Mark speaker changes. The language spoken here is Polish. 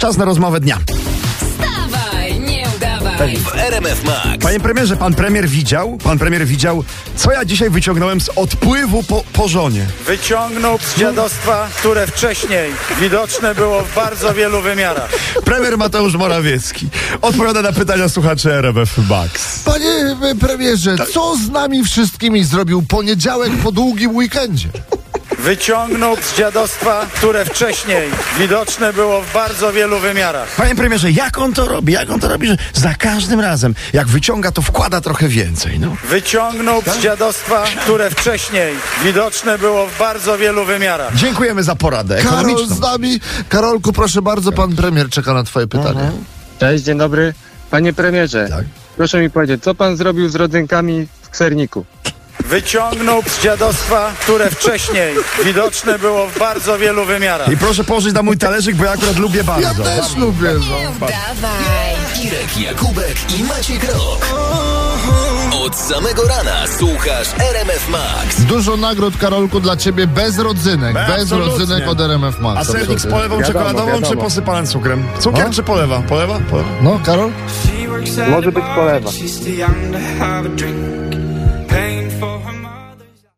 Speaker 1: Czas na rozmowę dnia.
Speaker 2: Wstawaj, nie udawaj.
Speaker 3: w RMF Max.
Speaker 1: Panie premierze, pan premier widział, pan premier widział, co ja dzisiaj wyciągnąłem z odpływu po, po żonie.
Speaker 4: Wyciągnął z dziadostwa, które wcześniej widoczne było w bardzo wielu wymiarach.
Speaker 1: Premier Mateusz Morawiecki odpowiada na pytania słuchaczy RMF Max. Tak.
Speaker 5: Panie e, premierze, co z nami wszystkimi zrobił poniedziałek po długim weekendzie?
Speaker 4: Wyciągnął z dziadostwa, które wcześniej widoczne było w bardzo wielu wymiarach.
Speaker 1: Panie premierze, jak on to robi? Jak on to robi, że za każdym razem, jak wyciąga, to wkłada trochę więcej, no.
Speaker 4: Wyciągnął z dziadostwa, które wcześniej widoczne było w bardzo wielu wymiarach.
Speaker 1: Dziękujemy za poradę
Speaker 5: Karol
Speaker 1: ekonomiczną.
Speaker 5: z nami. Karolku, proszę bardzo, pan premier czeka na twoje pytanie.
Speaker 1: Mhm.
Speaker 6: Cześć, dzień dobry. Panie premierze, proszę mi powiedzieć, co pan zrobił z rodzynkami w kserniku?
Speaker 4: Wyciągnął z dziadostwa, które wcześniej widoczne było w bardzo wielu wymiarach.
Speaker 1: I proszę położyć na mój talerzyk, bo ja akurat lubię
Speaker 5: Ja
Speaker 1: bardzo.
Speaker 5: też lubię. No.
Speaker 2: Nie udawaj.
Speaker 3: Irek Jakubek i Maciek Rok. Od samego rana słuchasz RMF Max.
Speaker 5: Dużo nagród, Karolku, dla ciebie bez rodzynek.
Speaker 1: Be-
Speaker 5: Bez
Speaker 1: absolutnie.
Speaker 5: rodzynek od RMF Max.
Speaker 1: A sernik z
Speaker 5: absolutnie.
Speaker 1: polewą
Speaker 6: Wiadomo,
Speaker 1: czekoladową czy
Speaker 6: wiadomo.
Speaker 1: posypany cukrem? Cukier
Speaker 5: No.
Speaker 1: czy polewa? Polewa? polewa?
Speaker 5: No, Karol?
Speaker 7: Może być polewa.